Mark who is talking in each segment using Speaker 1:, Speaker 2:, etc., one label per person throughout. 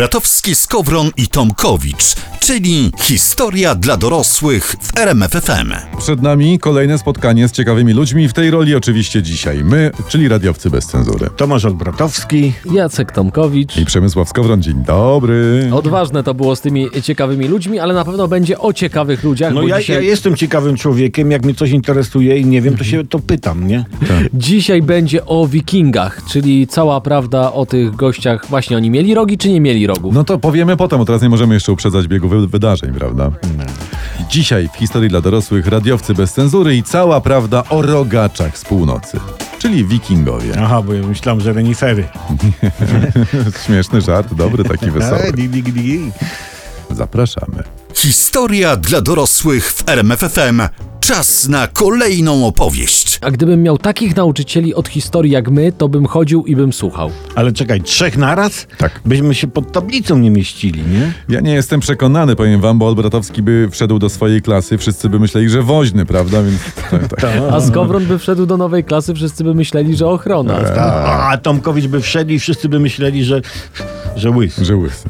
Speaker 1: Bratowski, Skowron i Tomkowicz, czyli historia dla dorosłych w RMFFM.
Speaker 2: Przed nami kolejne spotkanie z ciekawymi ludźmi, w tej roli oczywiście dzisiaj my, czyli radiowcy bez cenzury.
Speaker 3: Tomasz Olbratowski.
Speaker 4: Jacek Tomkowicz.
Speaker 2: I Przemysław Skowron, dzień dobry.
Speaker 4: Odważne to było z tymi ciekawymi ludźmi, ale na pewno będzie o ciekawych ludziach,
Speaker 3: No
Speaker 4: Tak, bo
Speaker 3: ja, ja
Speaker 4: dzisiaj,
Speaker 3: jestem ciekawym człowiekiem, jak mnie coś interesuje i nie wiem, to się to pytam, nie?
Speaker 4: Tak. dzisiaj będzie o wikingach, czyli cała prawda o tych gościach. Właśnie oni mieli rogi, czy nie mieli rogów?
Speaker 2: No to powiemy potem, bo teraz nie możemy jeszcze uprzedzać biegu wy- wydarzeń, prawda? Dzisiaj w historii dla dorosłych radiowcy bez cenzury i cała prawda o rogaczach z północy, czyli wikingowie.
Speaker 3: Aha, bo ja myślałem, że renifery.
Speaker 2: Śmieszny żart, dobry, taki wesoły.
Speaker 3: E, di, di, di, di.
Speaker 2: Zapraszamy.
Speaker 1: Historia dla dorosłych w RMFFM. Czas na kolejną opowieść.
Speaker 4: A gdybym miał takich nauczycieli od historii jak my, to bym chodził i bym słuchał.
Speaker 3: Ale czekaj, trzech naraz?
Speaker 2: Tak.
Speaker 3: Byśmy się pod tablicą nie mieścili, nie?
Speaker 2: Ja nie jestem przekonany, powiem wam, bo Olbratowski by wszedł do swojej klasy, wszyscy by myśleli, że woźny, prawda? Więc tak, tak.
Speaker 4: A Skowron by wszedł do nowej klasy, wszyscy by myśleli, że ochrona.
Speaker 3: Tak.
Speaker 4: Tak.
Speaker 3: A, a Tomkowicz by wszedł i wszyscy by myśleli, że, że łys.
Speaker 2: Że łysy.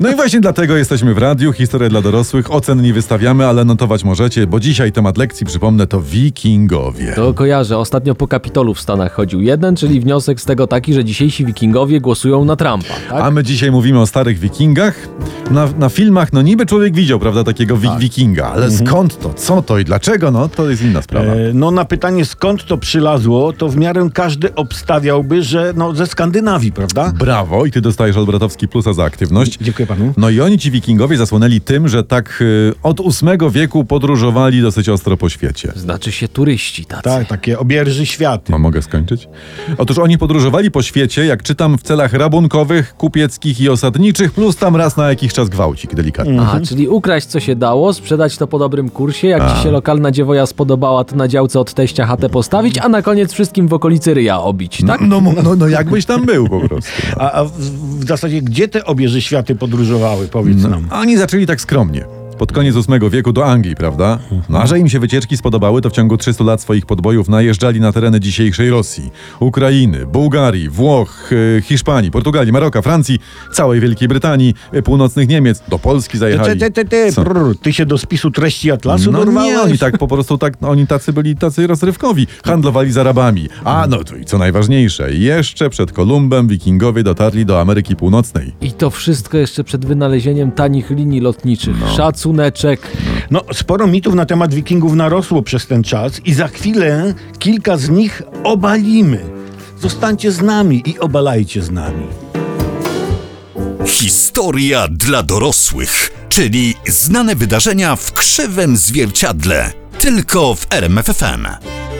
Speaker 2: No i właśnie dlatego jesteśmy w radiu. Historię dla dorosłych. Ocen nie wystawiamy, ale notować możecie, bo dzisiaj temat lekcji, przypomnę, to wikingowie.
Speaker 4: To kojarzę, ostatnio po Kapitolu w Stanach chodził jeden, czyli wniosek z tego taki, że dzisiejsi wikingowie głosują na Trumpa. Tak?
Speaker 2: A my dzisiaj mówimy o starych wikingach. Na, na filmach, no niby człowiek widział, prawda, takiego
Speaker 3: Tak.
Speaker 2: wi- wikinga, ale skąd to, co to i dlaczego, no to jest inna sprawa.
Speaker 3: Mhm. E, No na pytanie skąd to przylazło, to w miarę każdy obstawiałby, że no ze Skandynawii, prawda?
Speaker 2: Brawo i ty dostajesz od Bratowski plusa za aktywność.
Speaker 3: Dziękuję panu.
Speaker 2: No i oni, ci wikingowie, zasłonęli tym, że tak y, od VIII wieku podróżowali dosyć ostro po świecie.
Speaker 4: Znaczy się turyści tacy.
Speaker 3: Tak, takie obieży światy.
Speaker 2: Ma,
Speaker 4: No.
Speaker 2: No, mogę skończyć? Otóż oni podróżowali po świecie, jak czytam, w celach rabunkowych, kupieckich i osadniczych, plus tam raz na jakiś czas gwałcik, delikatnie.
Speaker 3: Mm.
Speaker 4: Aha, czyli ukraść co się dało, sprzedać to po dobrym kursie, jak
Speaker 2: Tak.
Speaker 4: ci się lokalna dziewoja spodobała, to na działce od teścia chatę postawić, a na koniec wszystkim w okolicy ryja obić, tak?
Speaker 2: No, no, no, no jakbyś tam był po prostu.
Speaker 3: A, a w, w zasadzie gdzie te obieży światy podróżowały, powiedz
Speaker 4: No,
Speaker 3: nam.
Speaker 2: A Oni zaczęli tak skromnie. Pod koniec VIII wieku do Anglii, prawda? No a że im się wycieczki spodobały, to w ciągu 300 lat swoich podbojów najeżdżali na tereny dzisiejszej Rosji, Ukrainy, Bułgarii, Włoch, y, Hiszpanii, Portugalii, Maroka, Francji, całej Wielkiej Brytanii, y, północnych Niemiec, do Polski
Speaker 3: Ty,
Speaker 2: zajechali.
Speaker 3: ty, ty, ty,
Speaker 2: Co?
Speaker 3: prr, ty się do spisu treści Atlasu
Speaker 2: no
Speaker 3: dorwałeś?
Speaker 2: nie, oni tak po prostu tak, no, oni tacy byli tacy rozrywkowi, handlowali z Arabami. A no to i co najważniejsze, jeszcze przed Kolumbem wikingowie dotarli do Ameryki Północnej.
Speaker 4: I to wszystko jeszcze przed wynalezieniem tanich linii lotniczych.
Speaker 2: No.
Speaker 4: Szacuneczek.
Speaker 3: No, sporo mitów na temat wikingów narosło przez ten czas i za chwilę kilka z nich obalimy. Zostańcie z nami i obalajcie z nami.
Speaker 1: Historia dla dorosłych, czyli znane wydarzenia w krzywym zwierciadle. Tylko w RMFFM.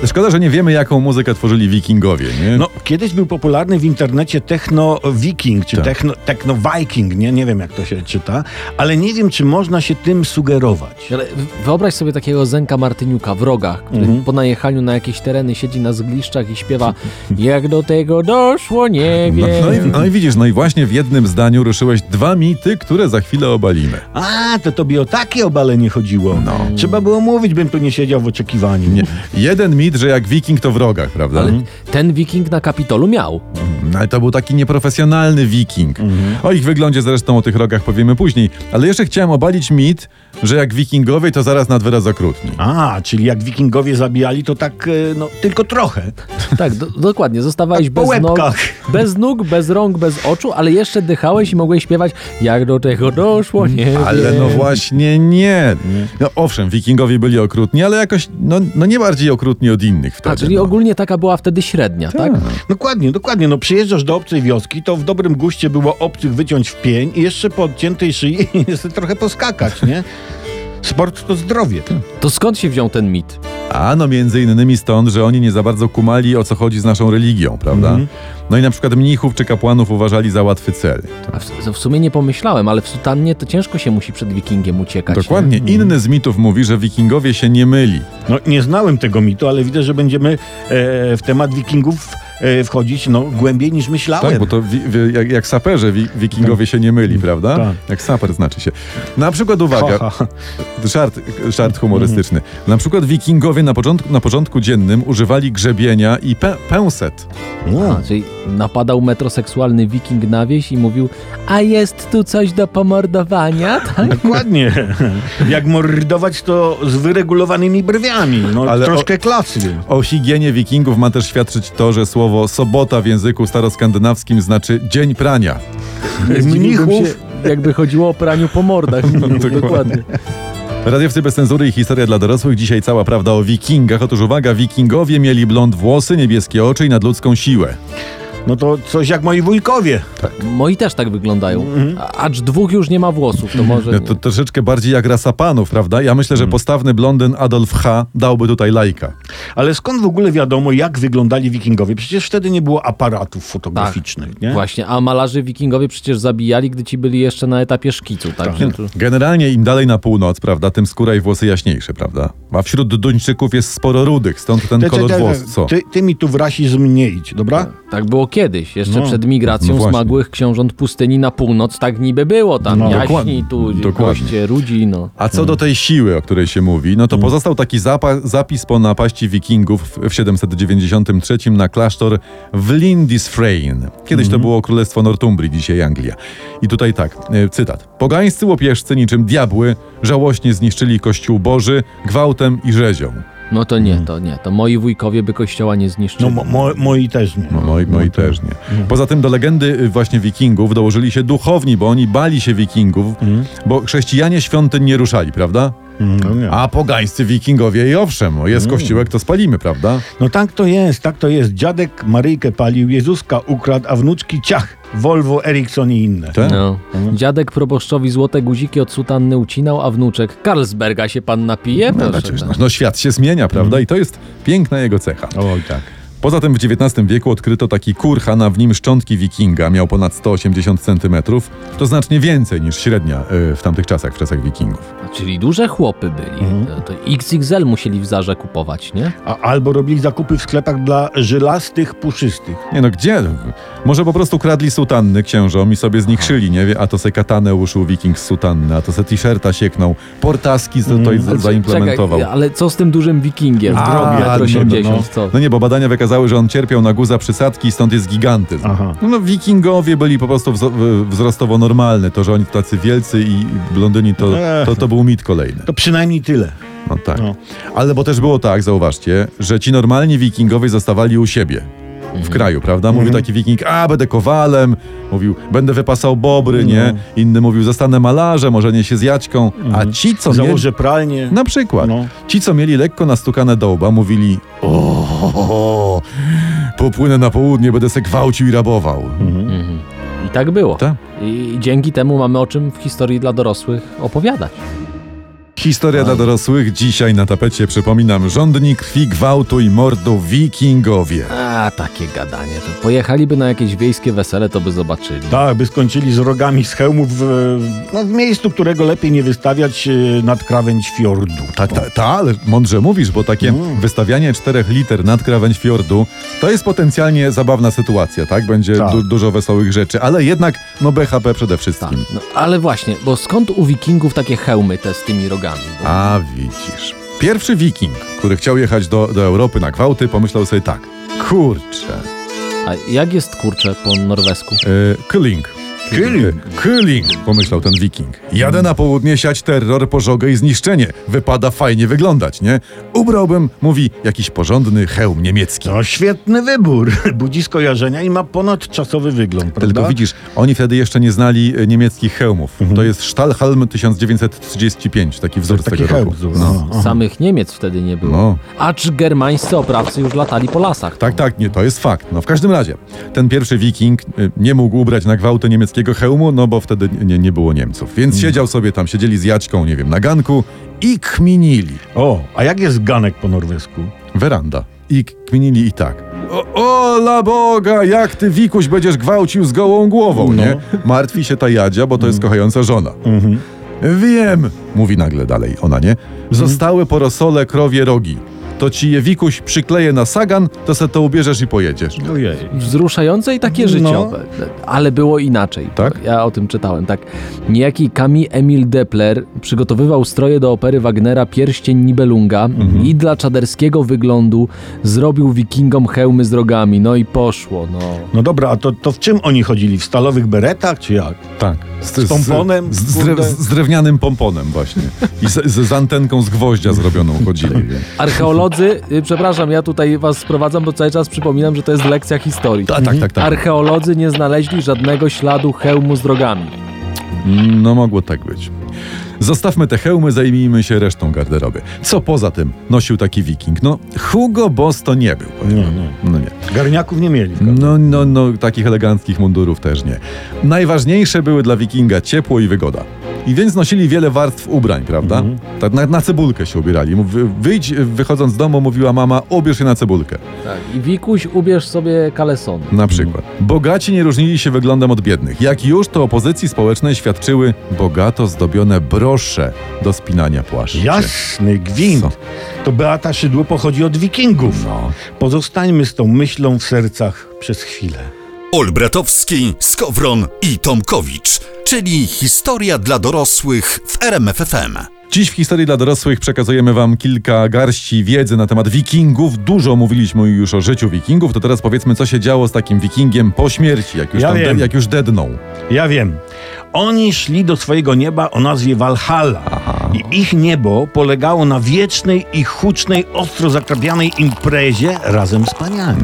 Speaker 2: Szkoda, że nie wiemy, jaką muzykę tworzyli wikingowie, nie?
Speaker 3: No, kiedyś był popularny w internecie techno wiking, czy
Speaker 2: Tak.
Speaker 3: techno, techno viking, nie? nie wiem jak to się czyta, ale nie wiem czy można się tym sugerować.
Speaker 4: Ale w- wyobraź sobie takiego Zenka Martyniuka w rogach, który
Speaker 2: Mhm.
Speaker 4: po najechaniu na jakieś tereny siedzi na zgliszczach i śpiewa Jak do tego doszło, nie
Speaker 2: No,
Speaker 4: wiem.
Speaker 2: no, i, no i widzisz, no i właśnie w jednym zdaniu ruszyłeś dwa mity, które za chwilę obalimy.
Speaker 3: A, to tobie o takie obalenie chodziło. No. Trzeba było mówić, bym tu nie siedział w oczekiwaniu.
Speaker 2: Nie, jeden mit, że jak wiking to w rogach, prawda?
Speaker 4: Ale
Speaker 2: Mhm.
Speaker 4: ten wiking na Kapitolu miał.
Speaker 2: No, ale to był taki nieprofesjonalny wiking.
Speaker 4: Mhm.
Speaker 2: O ich wyglądzie zresztą o tych rogach powiemy później. Ale jeszcze chciałem obalić mit, że jak wikingowie to zaraz nad wyraz okrutni.
Speaker 3: A, czyli jak wikingowie zabijali, to tak, e, no, tylko trochę.
Speaker 4: Tak, do, dokładnie. Zostawałeś
Speaker 3: Tak po
Speaker 4: bez nóg,
Speaker 3: łebkach.
Speaker 4: bez nóg, bez rąk, bez oczu, ale jeszcze dychałeś i mogłeś śpiewać jak do tego doszło, nie
Speaker 2: Ale
Speaker 4: wiem.
Speaker 2: no właśnie nie. No owszem, wikingowie byli okrutni, ale jakoś no, no nie bardziej okrutni od innych wtedy.
Speaker 4: A, Tak, czyli
Speaker 2: no.
Speaker 4: ogólnie taka była wtedy średnia, tak?
Speaker 3: Dokładnie, dokładnie. No przyjeżdżasz do obcej wioski, to w dobrym guście było obcych wyciąć w pień i jeszcze po odciętej szyi jeszcze trochę poskakać, nie? Sport to zdrowie.
Speaker 4: To skąd się wziął ten mit?
Speaker 2: A no między innymi stąd, że oni nie za bardzo kumali o co chodzi z naszą religią, prawda?
Speaker 4: Mhm.
Speaker 2: No i na przykład mnichów czy kapłanów uważali za łatwy cel.
Speaker 4: A w, w sumie nie pomyślałem, ale w sutannie to ciężko się musi przed wikingiem uciekać. nie?
Speaker 2: Dokładnie. Inny z mitów mówi, że wikingowie się nie myli.
Speaker 3: No nie znałem tego mitu, ale widzę, że będziemy e, w temat wikingów e, wchodzić no, głębiej niż myślałem.
Speaker 2: Tak, bo to wi, wi, jak, jak saperzy wi, wikingowie się nie myli, prawda?
Speaker 3: Tak.
Speaker 2: Jak saper znaczy się. Na przykład uwaga,
Speaker 3: Ha, ha.
Speaker 2: Żart, żart humorystyczny. Na przykład wikingowie na początku, na porządku dziennym używali grzebienia i pe, pęset. no.
Speaker 4: A, czyli napadał metroseksualny wiking na wieś i mówił, a jest tu coś do pomordowania? Tak?
Speaker 3: Dokładnie. Jak mordować to z wyregulowanymi brwiami. No,
Speaker 2: Ale o-
Speaker 3: troszkę klasy.
Speaker 2: O higienie wikingów ma też świadczyć to, że słowo sobota w języku staroskandynawskim znaczy dzień prania.
Speaker 4: Zdziwiłbym
Speaker 3: Mnichów.
Speaker 4: się, jakby chodziło o praniu po mordach. Dokładnie.
Speaker 2: Radiowcy bez cenzury i historia dla dorosłych. Dzisiaj cała prawda o wikingach. Otóż uwaga, wikingowie mieli blond włosy, niebieskie oczy i nadludzką siłę.
Speaker 3: No to coś jak moi wujkowie.
Speaker 4: Moi też tak wyglądają. A- Acz dwóch już nie ma włosów, to może...
Speaker 2: Mhm. No to troszeczkę bardziej jak rasa panów, prawda? Ja myślę, że postawny blondyn Adolf H. dałby tutaj lajka.
Speaker 3: Ale skąd w ogóle wiadomo, jak wyglądali wikingowie? Przecież wtedy nie było aparatów fotograficznych,
Speaker 2: Tak.
Speaker 3: nie?
Speaker 4: Właśnie, a malarzy wikingowie przecież zabijali, gdy ci byli jeszcze na etapie szkicu. Tak? To-
Speaker 2: Generalnie im dalej na północ, prawda, tym skóra i włosy jaśniejsze, prawda? A wśród Duńczyków jest sporo rudych, stąd ten
Speaker 3: Te- te-
Speaker 2: kolor
Speaker 3: te-
Speaker 2: włos. Co?
Speaker 3: Ty, ty mi tu w rasizm nie idź, dobra?
Speaker 4: tak było kiedyś, jeszcze
Speaker 3: No.
Speaker 4: przed migracją
Speaker 2: No właśnie.
Speaker 4: smagłych książąt pustyni na północ, tak niby było tam.
Speaker 3: No,
Speaker 4: Jaśni
Speaker 2: dokładnie.
Speaker 4: tu,
Speaker 2: Dokładnie.
Speaker 4: goście, rudzi, no.
Speaker 2: A co do tej siły, o której się mówi, no to pozostał taki zapa- zapis po napaści wikingów w- w 793 na klasztor w Lindisfrein. Kiedyś to było Królestwo Northumbrii, dzisiaj Anglia. I tutaj tak, e, cytat. Pogańscy łopieżcy niczym diabły żałośnie zniszczyli Kościół Boży gwałtem i rzezią.
Speaker 4: No to nie, to nie. To moi wujkowie by kościoła nie zniszczyli.
Speaker 3: No mo, mo, moi też nie.
Speaker 2: No, moi, moi też nie. Poza tym do legendy y, właśnie wikingów dołożyli się duchowni, bo oni bali się wikingów, bo chrześcijanie świątyń nie ruszali, prawda?
Speaker 3: No, nie.
Speaker 2: A pogańscy wikingowie i owszem, o, jest kościółek, to spalimy, prawda?
Speaker 3: no tak to jest, tak to jest. Dziadek Maryjkę palił, Jezuska ukradł, a wnuczki ciach, Volvo, Ericsson i inne.
Speaker 2: Te?
Speaker 4: No.
Speaker 2: Mhm.
Speaker 4: Dziadek proboszczowi złote guziki od sutanny ucinał, a wnuczek Karlsberga się pan napije?
Speaker 2: No,
Speaker 4: Proszę,
Speaker 2: znaczy,
Speaker 4: tak.
Speaker 2: no, no świat się zmienia, prawda? I to jest piękna jego cecha.
Speaker 3: Oj tak.
Speaker 2: Poza tym w XIX wieku odkryto taki kurhan, a w nim szczątki wikinga, miał ponad 180 cm, to znacznie więcej niż średnia y, w tamtych czasach, w czasach wikingów.
Speaker 4: No, Czyli duże chłopy byli. To, to XXL musieli w Zarze kupować, nie?
Speaker 3: A, albo robili zakupy w sklepach dla żylastych, puszystych.
Speaker 2: Nie no, gdzie? Może po prostu kradli sutanny księżom i sobie z nich szyli, nie wie? A to se katanę uszył wiking z sutanny, a to se t-shirta sieknął, portaski z, to
Speaker 4: Ale c-
Speaker 2: zaimplementował.
Speaker 4: Czekaj, ale co z tym dużym wikingiem?
Speaker 2: A,
Speaker 4: Zdrowie,
Speaker 2: no,
Speaker 4: 80,
Speaker 2: no.
Speaker 4: co?
Speaker 2: No nie, bo badania wykazały, że on cierpiał na guza przysadki i stąd jest gigantyzm.
Speaker 3: Aha.
Speaker 2: No, no wikingowie byli po prostu wzo- w- wzrostowo normalne. To, że oni tacy wielcy i blondyni, to,
Speaker 3: Ech.
Speaker 2: to, to był mit kolejny.
Speaker 3: To przynajmniej tyle.
Speaker 2: No tak.
Speaker 3: No.
Speaker 2: Ale bo też było tak, zauważcie, że ci normalni wikingowie zostawali u siebie. W
Speaker 3: Mhm.
Speaker 2: kraju, prawda? Mówił taki wiking, a będę kowalem, mówił, będę wypasał bobry, nie?
Speaker 3: No.
Speaker 2: Inny mówił, zostanę malarzem, ożenię się z Jaćką. A ci, co mieli...
Speaker 3: Mhm. Założę pralnię.
Speaker 2: Na przykład,
Speaker 3: No.
Speaker 2: ci, co mieli lekko nastukane do łba, mówili o, popłynę na południe, będę se gwałcił i rabował.
Speaker 3: Mhm.
Speaker 4: I tak było.
Speaker 2: Tak.
Speaker 4: I dzięki temu mamy o czym w historii dla dorosłych opowiadać.
Speaker 2: Historia dla dorosłych dzisiaj na tapecie, przypominam, rządni krwi, gwałtu i mordu wikingowie.
Speaker 4: A, takie gadanie. To pojechaliby na jakieś wiejskie wesele, to by zobaczyli.
Speaker 3: Tak, by skończyli z rogami z hełmów e, no, w miejscu, którego lepiej nie wystawiać e, nad krawędź fiordu.
Speaker 2: Tak, ta, ta, ale mądrze mówisz, bo takie wystawianie czterech liter nad krawędź fiordu to jest potencjalnie zabawna sytuacja, tak? Będzie
Speaker 3: Tak.
Speaker 2: Du- dużo wesołych rzeczy, ale jednak no BHP przede wszystkim.
Speaker 4: No, ale właśnie, bo skąd u wikingów takie hełmy te z tymi rogami? Bo...
Speaker 2: A widzisz. Pierwszy wiking, który chciał jechać do, do Europy na gwałty, pomyślał sobie tak. Kurczę.
Speaker 4: A jak jest kurczę po norwesku?
Speaker 2: E, Kyling. E,
Speaker 3: Kyling.
Speaker 2: Kyling, pomyślał ten wiking. Jadę na południe siać terror, pożogę i zniszczenie. Wypada fajnie wyglądać, nie? Ubrałbym, mówi, jakiś porządny hełm niemiecki.
Speaker 3: No świetny wybór. Budzi skojarzenia i ma ponadczasowy wygląd, prawda?
Speaker 2: Tylko widzisz, oni wtedy jeszcze nie znali e, niemieckich hełmów.
Speaker 3: Mhm.
Speaker 2: To jest Stahlhelm 1935, taki wzór
Speaker 3: Tak, Taki
Speaker 2: z tego roku.
Speaker 3: hełm. No.
Speaker 4: Samych Niemiec wtedy nie było.
Speaker 2: No.
Speaker 4: Acz germańscy oprawcy już latali po lasach.
Speaker 2: Tak, tak, nie, to jest fakt. No w każdym razie, ten pierwszy wiking y, nie mógł ubrać na gwałty niemieckiego hełmu, no bo wtedy nie, nie było Niemców. Więc
Speaker 3: Mhm.
Speaker 2: siedział sobie tam, siedzieli z Jaćką, nie wiem, na ganku i kminili.
Speaker 3: O, a jak jest ganek po norwesku?
Speaker 2: Weranda. I k- kminili i tak. O, ola Boga, jak ty wikuś będziesz gwałcił z gołą głową, nie? Martwi się ta Jadzia, bo to jest kochająca żona. Mm. Wiem, mówi nagle dalej ona, nie? Zostały po rosole krowie rogi. to ci je wikuś przykleje na sagan, to se to ubierzesz i pojedziesz.
Speaker 3: Ojej.
Speaker 4: Wzruszające i takie
Speaker 3: No.
Speaker 4: życiowe. Ale było inaczej.
Speaker 2: Tak?
Speaker 4: Ja o tym czytałem, tak. Niejaki Camille Emil Depler przygotowywał stroje do opery Wagnera Pierścień Nibelunga
Speaker 2: Mhm.
Speaker 4: i dla czaderskiego wyglądu zrobił wikingom hełmy z rogami. No i poszło, no.
Speaker 3: No dobra, a to, to w czym oni chodzili? W stalowych beretach czy jak?
Speaker 2: Tak.
Speaker 3: Z pomponem,
Speaker 2: Z, z,
Speaker 3: kurde.
Speaker 2: dre- z drewnianym pomponem właśnie. I z, z, z antenką z gwoździa zrobioną chodzili.
Speaker 4: Archeolodzy, y, przepraszam, ja tutaj was sprowadzam, bo cały czas przypominam, że to jest lekcja historii.
Speaker 2: Tak, tak, tak. tak.
Speaker 4: Archeolodzy nie znaleźli żadnego śladu hełmu z rogami.
Speaker 2: No mogło tak być. Zostawmy te hełmy, zajmijmy się resztą garderoby. Co poza tym nosił taki wiking? No Hugo Boss to nie był. powiem.
Speaker 3: Nie, nie.
Speaker 2: No nie.
Speaker 3: Garniaków nie mieli. w każdym
Speaker 2: No, no, no, takich eleganckich mundurów też nie. Najważniejsze były dla wikinga ciepło i wygoda. I więc nosili wiele warstw ubrań, prawda? Tak na, na cebulkę się ubierali. Mów- Wyjdź, wychodząc z domu, mówiła mama, ubierz się na cebulkę.
Speaker 4: I Wikuś, ubierz sobie kalesony.
Speaker 2: Na przykład. Bogaci nie różnili się wyglądem od biednych. Jak już, to o pozycji społecznej świadczyły bogato zdobione brosze do spinania płaszczy.
Speaker 3: Jasny gwint.
Speaker 2: No, Co? No.
Speaker 3: To Beata Szydło pochodzi od wikingów. Pozostańmy z tą myślą w sercach przez chwilę.
Speaker 1: Olbratowski, Skowron i Tomkowicz, czyli historia dla dorosłych w RMFFM.
Speaker 2: Dziś w historii dla dorosłych przekazujemy Wam kilka garści wiedzy na temat wikingów. Dużo mówiliśmy już o życiu wikingów, to teraz powiedzmy, co się działo z takim wikingiem po śmierci, jak już,
Speaker 3: Ja
Speaker 2: tam
Speaker 3: wiem.
Speaker 2: de- jak już dednął.
Speaker 3: Ja wiem. Oni szli do swojego nieba o nazwie Valhalla. I ich niebo polegało na wiecznej i hucznej, ostro zakrapianej imprezie razem z paniami.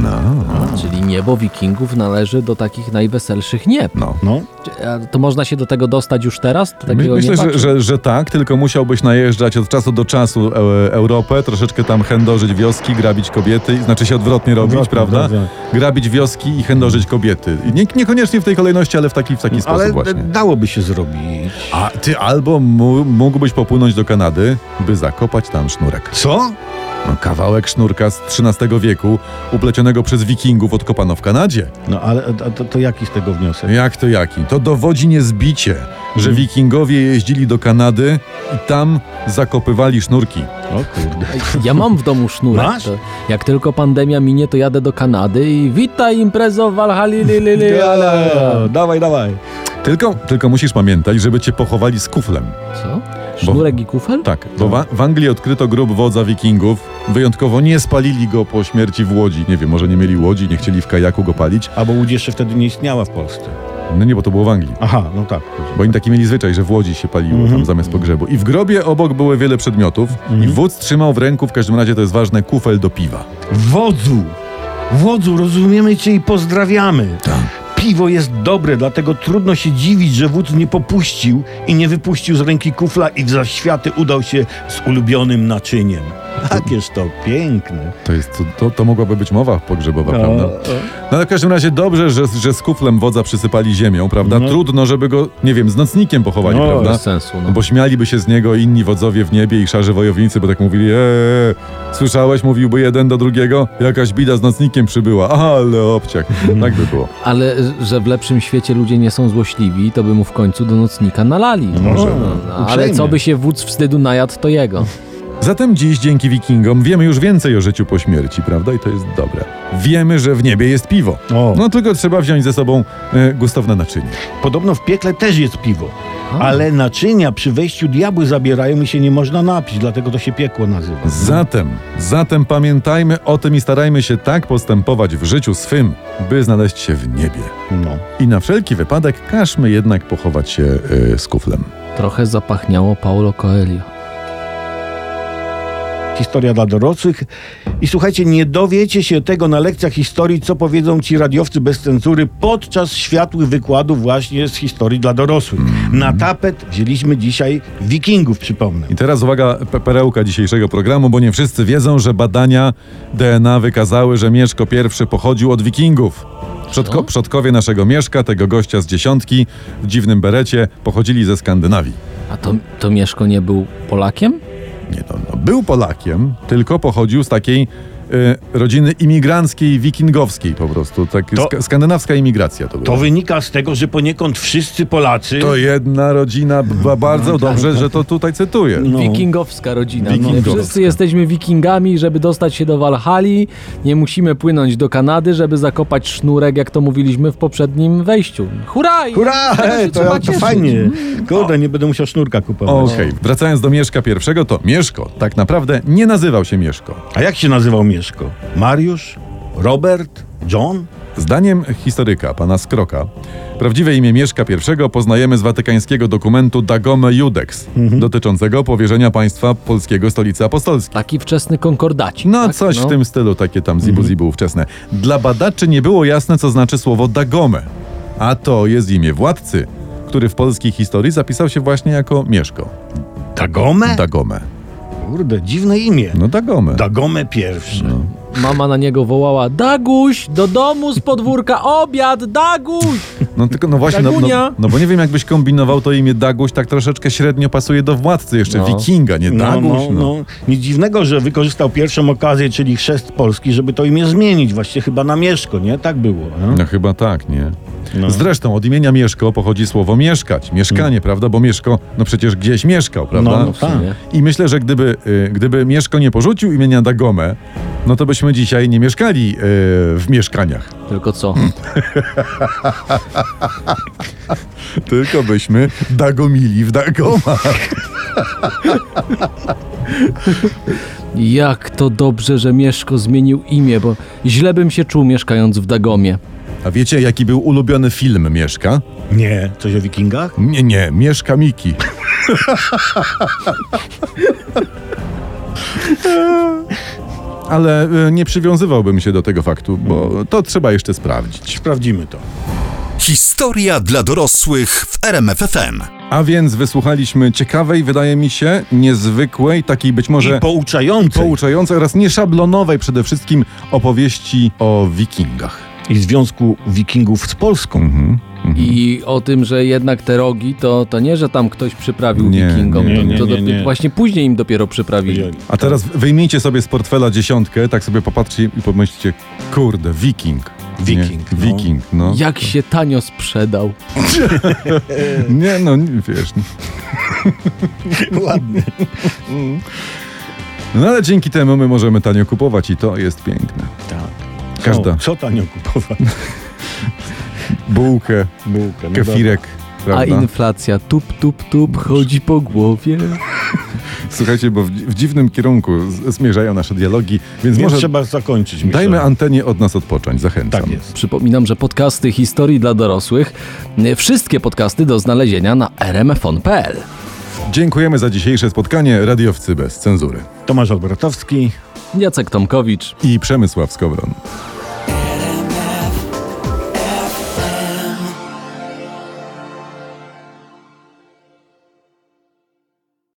Speaker 4: Czyli niebo wikingów należy do takich najweselszych nieb.
Speaker 2: No.
Speaker 3: No,
Speaker 4: Czy- a To można się do tego dostać już teraz? Do
Speaker 2: My,
Speaker 4: takiego
Speaker 2: myślę,
Speaker 4: nieba,
Speaker 2: że,
Speaker 4: czy-
Speaker 2: że, że tak, tylko musiałbyś najeżdżać od czasu do czasu e, Europę, troszeczkę tam chędożyć wioski, grabić kobiety, znaczy się odwrotnie robić,
Speaker 3: Odwrotnie,
Speaker 2: prawda?
Speaker 3: tak,
Speaker 2: Grabić wioski i chędożyć kobiety. I Nie, niekoniecznie w tej kolejności, ale w taki, w taki sposób
Speaker 3: Mm, ale
Speaker 2: właśnie.
Speaker 3: dałoby się zrobić.
Speaker 2: A ty albo mu, mógłbyś popłynąć do Kanady, by zakopać tam sznurek.
Speaker 3: Co?
Speaker 2: No, kawałek sznurka z XIII wieku, uplecionego przez wikingów, odkopano w Kanadzie.
Speaker 3: No ale a to, to jaki z tego wniosek?
Speaker 2: Jak to jaki? To dowodzi niezbicie, że wikingowie jeździli do Kanady i tam zakopywali sznurki.
Speaker 3: O kurde.
Speaker 4: Ja mam w domu sznurek.
Speaker 3: Masz?
Speaker 4: To jak tylko pandemia minie, to jadę do Kanady i witaj imprezo Walhali. li, li, li, ale-
Speaker 3: Dawaj, dawaj.
Speaker 2: Tylko, tylko musisz pamiętać, żeby cię pochowali z kuflem.
Speaker 4: Co? Sznurek i kufel?
Speaker 2: Tak, bo wa- w Anglii odkryto grób wodza wikingów. Wyjątkowo nie spalili go po śmierci w Łodzi. Nie wiem, może nie mieli Łodzi, nie chcieli w kajaku go palić.
Speaker 3: Albo łódź jeszcze wtedy nie istniała w Polsce.
Speaker 2: No nie, bo to było w Anglii.
Speaker 3: Aha, no tak.
Speaker 2: Bo oni taki mieli zwyczaj, że w Łodzi się paliło tam zamiast pogrzebu. I w grobie obok były wiele przedmiotów i wódz trzymał w ręku, w każdym razie to jest ważne, kufel do piwa.
Speaker 3: Wodzu! Wodzu, rozumiemy cię i pozdrawiamy.
Speaker 2: Tak.
Speaker 3: Piwo jest dobre, dlatego trudno się dziwić, że wódz nie popuścił i nie wypuścił z ręki kufla i w zaświaty udał się z ulubionym naczyniem. Jakież to piękne.
Speaker 2: To, jest, to, to, to mogłaby być mowa pogrzebowa, prawda? No ale w każdym razie dobrze, że, że z kuflem wodza przysypali ziemią, prawda?
Speaker 3: No.
Speaker 2: Trudno, żeby go, nie wiem, z nocnikiem pochowali,
Speaker 3: No,
Speaker 2: prawda?
Speaker 4: Bez sensu.
Speaker 2: No
Speaker 4: No.
Speaker 2: bo śmialiby się z niego inni wodzowie w niebie i szarzy wojownicy, bo tak mówili, eee, słyszałeś, mówiłby jeden do drugiego, jakaś bida z nocnikiem przybyła, ale obciach. Tak by było.
Speaker 4: Ale że w lepszym świecie ludzie nie są złośliwi, to by mu w końcu do nocnika nalali.
Speaker 2: No,
Speaker 3: może.
Speaker 4: ale
Speaker 3: Uprzejmie.
Speaker 4: co by się wódz wstydu najadł, to jego.
Speaker 2: Zatem dziś dzięki wikingom wiemy już więcej o życiu po śmierci, prawda? I to jest dobre. Wiemy, że w niebie jest piwo.
Speaker 3: O.
Speaker 2: No tylko trzeba wziąć ze sobą e, gustowne naczynie.
Speaker 3: Podobno w piekle też jest piwo, ale naczynia przy wejściu diabły zabierają i się nie można napić, dlatego to się piekło nazywa.
Speaker 2: Zatem, zatem pamiętajmy o tym i starajmy się tak postępować w życiu swym, by znaleźć się w niebie.
Speaker 3: No.
Speaker 2: I na wszelki wypadek każmy jednak pochować się e, z kuflem.
Speaker 4: Trochę zapachniało Paulo Coelho.
Speaker 3: Historia dla dorosłych. I słuchajcie, nie dowiecie się tego na lekcjach historii, co powiedzą ci radiowcy bez cenzury podczas światłych wykładów właśnie z historii dla dorosłych.
Speaker 2: Mhm.
Speaker 3: Na tapet wzięliśmy dzisiaj wikingów, przypomnę.
Speaker 2: I teraz uwaga, pe- perełka dzisiejszego programu, bo nie wszyscy wiedzą, że badania DNA wykazały, że Mieszko I pochodził od wikingów. Przodko, przodkowie naszego Mieszka, tego gościa z dziesiątki, w dziwnym berecie, pochodzili ze Skandynawii.
Speaker 4: A to, to Mieszko nie był Polakiem?
Speaker 2: Nie, no, no, był Polakiem, tylko pochodził z takiej e, rodziny imigranckiej, wikingowskiej po prostu. Tak,
Speaker 3: To-
Speaker 2: ska- skandynawska imigracja to była.
Speaker 3: To wynika z tego, że poniekąd wszyscy Polacy.
Speaker 2: To jedna rodzina, b- bardzo dobrze, że to tutaj cytuję.
Speaker 3: tak, No.
Speaker 4: Wikingowska rodzina.
Speaker 2: Wikingowska.
Speaker 4: No, wszyscy jesteśmy wikingami, żeby dostać się do Walhali, nie musimy płynąć do Kanady, żeby zakopać sznurek, jak to mówiliśmy w poprzednim wejściu. Hurra!
Speaker 3: Hurra!
Speaker 4: Tego się
Speaker 3: Hej,
Speaker 4: trzeba
Speaker 3: to, to
Speaker 4: cieszyć.
Speaker 3: fajnie. Kurde, nie będę musiał sznurka kupować.
Speaker 2: No. Okej, wracając do Mieszka I, to Mieszko tak naprawdę nie nazywał się Mieszko.
Speaker 3: A jak się nazywał Mieszko? Mariusz? Robert? John?
Speaker 2: Zdaniem historyka, pana Skroka, prawdziwe imię Mieszka I poznajemy z watykańskiego dokumentu Dagome Judex,
Speaker 3: Mhm.
Speaker 2: dotyczącego powierzenia państwa polskiego stolicy apostolskiej.
Speaker 4: Taki wczesny tak? konkordaci.
Speaker 3: Tak,
Speaker 2: No coś w tym stylu, takie tam zibu
Speaker 3: Mhm.
Speaker 2: zibu ówczesne. Dla badaczy nie było jasne, co znaczy słowo Dagome, a to jest imię władcy, który w polskiej historii zapisał się właśnie jako Mieszko.
Speaker 3: Dagome?
Speaker 2: Dagome.
Speaker 3: Kurde, dziwne imię.
Speaker 2: No Dagome.
Speaker 3: Dagome pierwszy.
Speaker 4: Mama na niego wołała, Daguś, do domu z podwórka, obiad, Daguś!
Speaker 2: No tylko, no właśnie, no, no,
Speaker 4: Dagunia.
Speaker 2: no bo nie wiem, jakbyś kombinował to imię Daguś, tak troszeczkę średnio pasuje do władcy jeszcze,
Speaker 4: No.
Speaker 2: wikinga, nie
Speaker 3: No,
Speaker 2: Daguś.
Speaker 3: no, no. Nic dziwnego, że wykorzystał pierwszą okazję, czyli chrzest Polski, żeby to imię zmienić. Właściwie chyba na Mieszko, nie? Tak było. No?
Speaker 2: No chyba tak, nie?
Speaker 3: No. Mm.
Speaker 2: Zresztą od imienia Mieszko pochodzi słowo mieszkać, mieszkanie, prawda? Bo Mieszko, no przecież gdzieś mieszkał, prawda?
Speaker 3: No, no tak.
Speaker 2: I myślę, że gdyby, y, gdyby Mieszko nie porzucił imienia Dagome, no to byśmy dzisiaj nie mieszkali y, w mieszkaniach,
Speaker 4: Tylko co?
Speaker 2: tylko byśmy dagomili w Dagoma.
Speaker 4: Jak to dobrze, że Mieszko zmienił imię, bo źle bym się czuł mieszkając w Dagomie.
Speaker 2: A wiecie, jaki był ulubiony film Mieszka?
Speaker 3: tak. Nie, coś o wikingach?
Speaker 2: Nie, nie, Mieszka Miki. Ale y, nie przywiązywałbym się do tego faktu, bo to trzeba jeszcze sprawdzić.
Speaker 3: Sprawdzimy to.
Speaker 1: Historia dla dorosłych w RMFFM.
Speaker 2: A więc wysłuchaliśmy ciekawej, wydaje mi się, niezwykłej, takiej być może
Speaker 3: I pouczającej.
Speaker 2: pouczającej oraz nieszablonowej przede wszystkim opowieści o wikingach.
Speaker 3: I Związku Wikingów z Polską.
Speaker 2: Mhm.
Speaker 4: I o tym, że jednak te rogi, to, to nie, że tam ktoś przyprawił
Speaker 2: Nie,
Speaker 4: wikingom.
Speaker 2: nie,
Speaker 4: to,
Speaker 3: nie,
Speaker 4: to
Speaker 3: nie,
Speaker 4: dopiero-
Speaker 3: nie.
Speaker 4: Właśnie później im dopiero przyprawili.
Speaker 2: A
Speaker 3: Tak.
Speaker 2: teraz wyjmijcie sobie z portfela dziesiątkę, tak sobie popatrzcie i pomyślcie, kurde, wiking. Nie?
Speaker 3: Wiking, no.
Speaker 2: Wiking, no.
Speaker 4: Jak się tanio sprzedał.
Speaker 2: Nie, no, nie, wiesz.
Speaker 3: Ładnie.
Speaker 2: No ale dzięki temu my możemy tanio kupować i to jest piękne.
Speaker 3: Tak.
Speaker 2: Każda.
Speaker 3: Co, co tanio kupować?
Speaker 2: Bułkę,
Speaker 3: Bułkę. no
Speaker 2: kefirek,
Speaker 4: A
Speaker 2: prawda?
Speaker 4: inflacja tup, tup, tup chodzi po głowie.
Speaker 2: Słuchajcie, bo w, w dziwnym kierunku z, zmierzają nasze dialogi, więc
Speaker 3: Więc
Speaker 2: może
Speaker 3: trzeba zakończyć. myślę.
Speaker 2: dajmy antenie od nas odpocząć, zachęcam.
Speaker 3: Tak jest.
Speaker 4: Przypominam, że podcasty historii dla dorosłych, y, wszystkie podcasty do znalezienia na rmfon.pl.
Speaker 2: Dziękujemy za dzisiejsze spotkanie, radiowcy bez cenzury.
Speaker 3: Tomasz Albertowski.
Speaker 4: Jacek Tomkowicz.
Speaker 2: I Przemysław Skowron.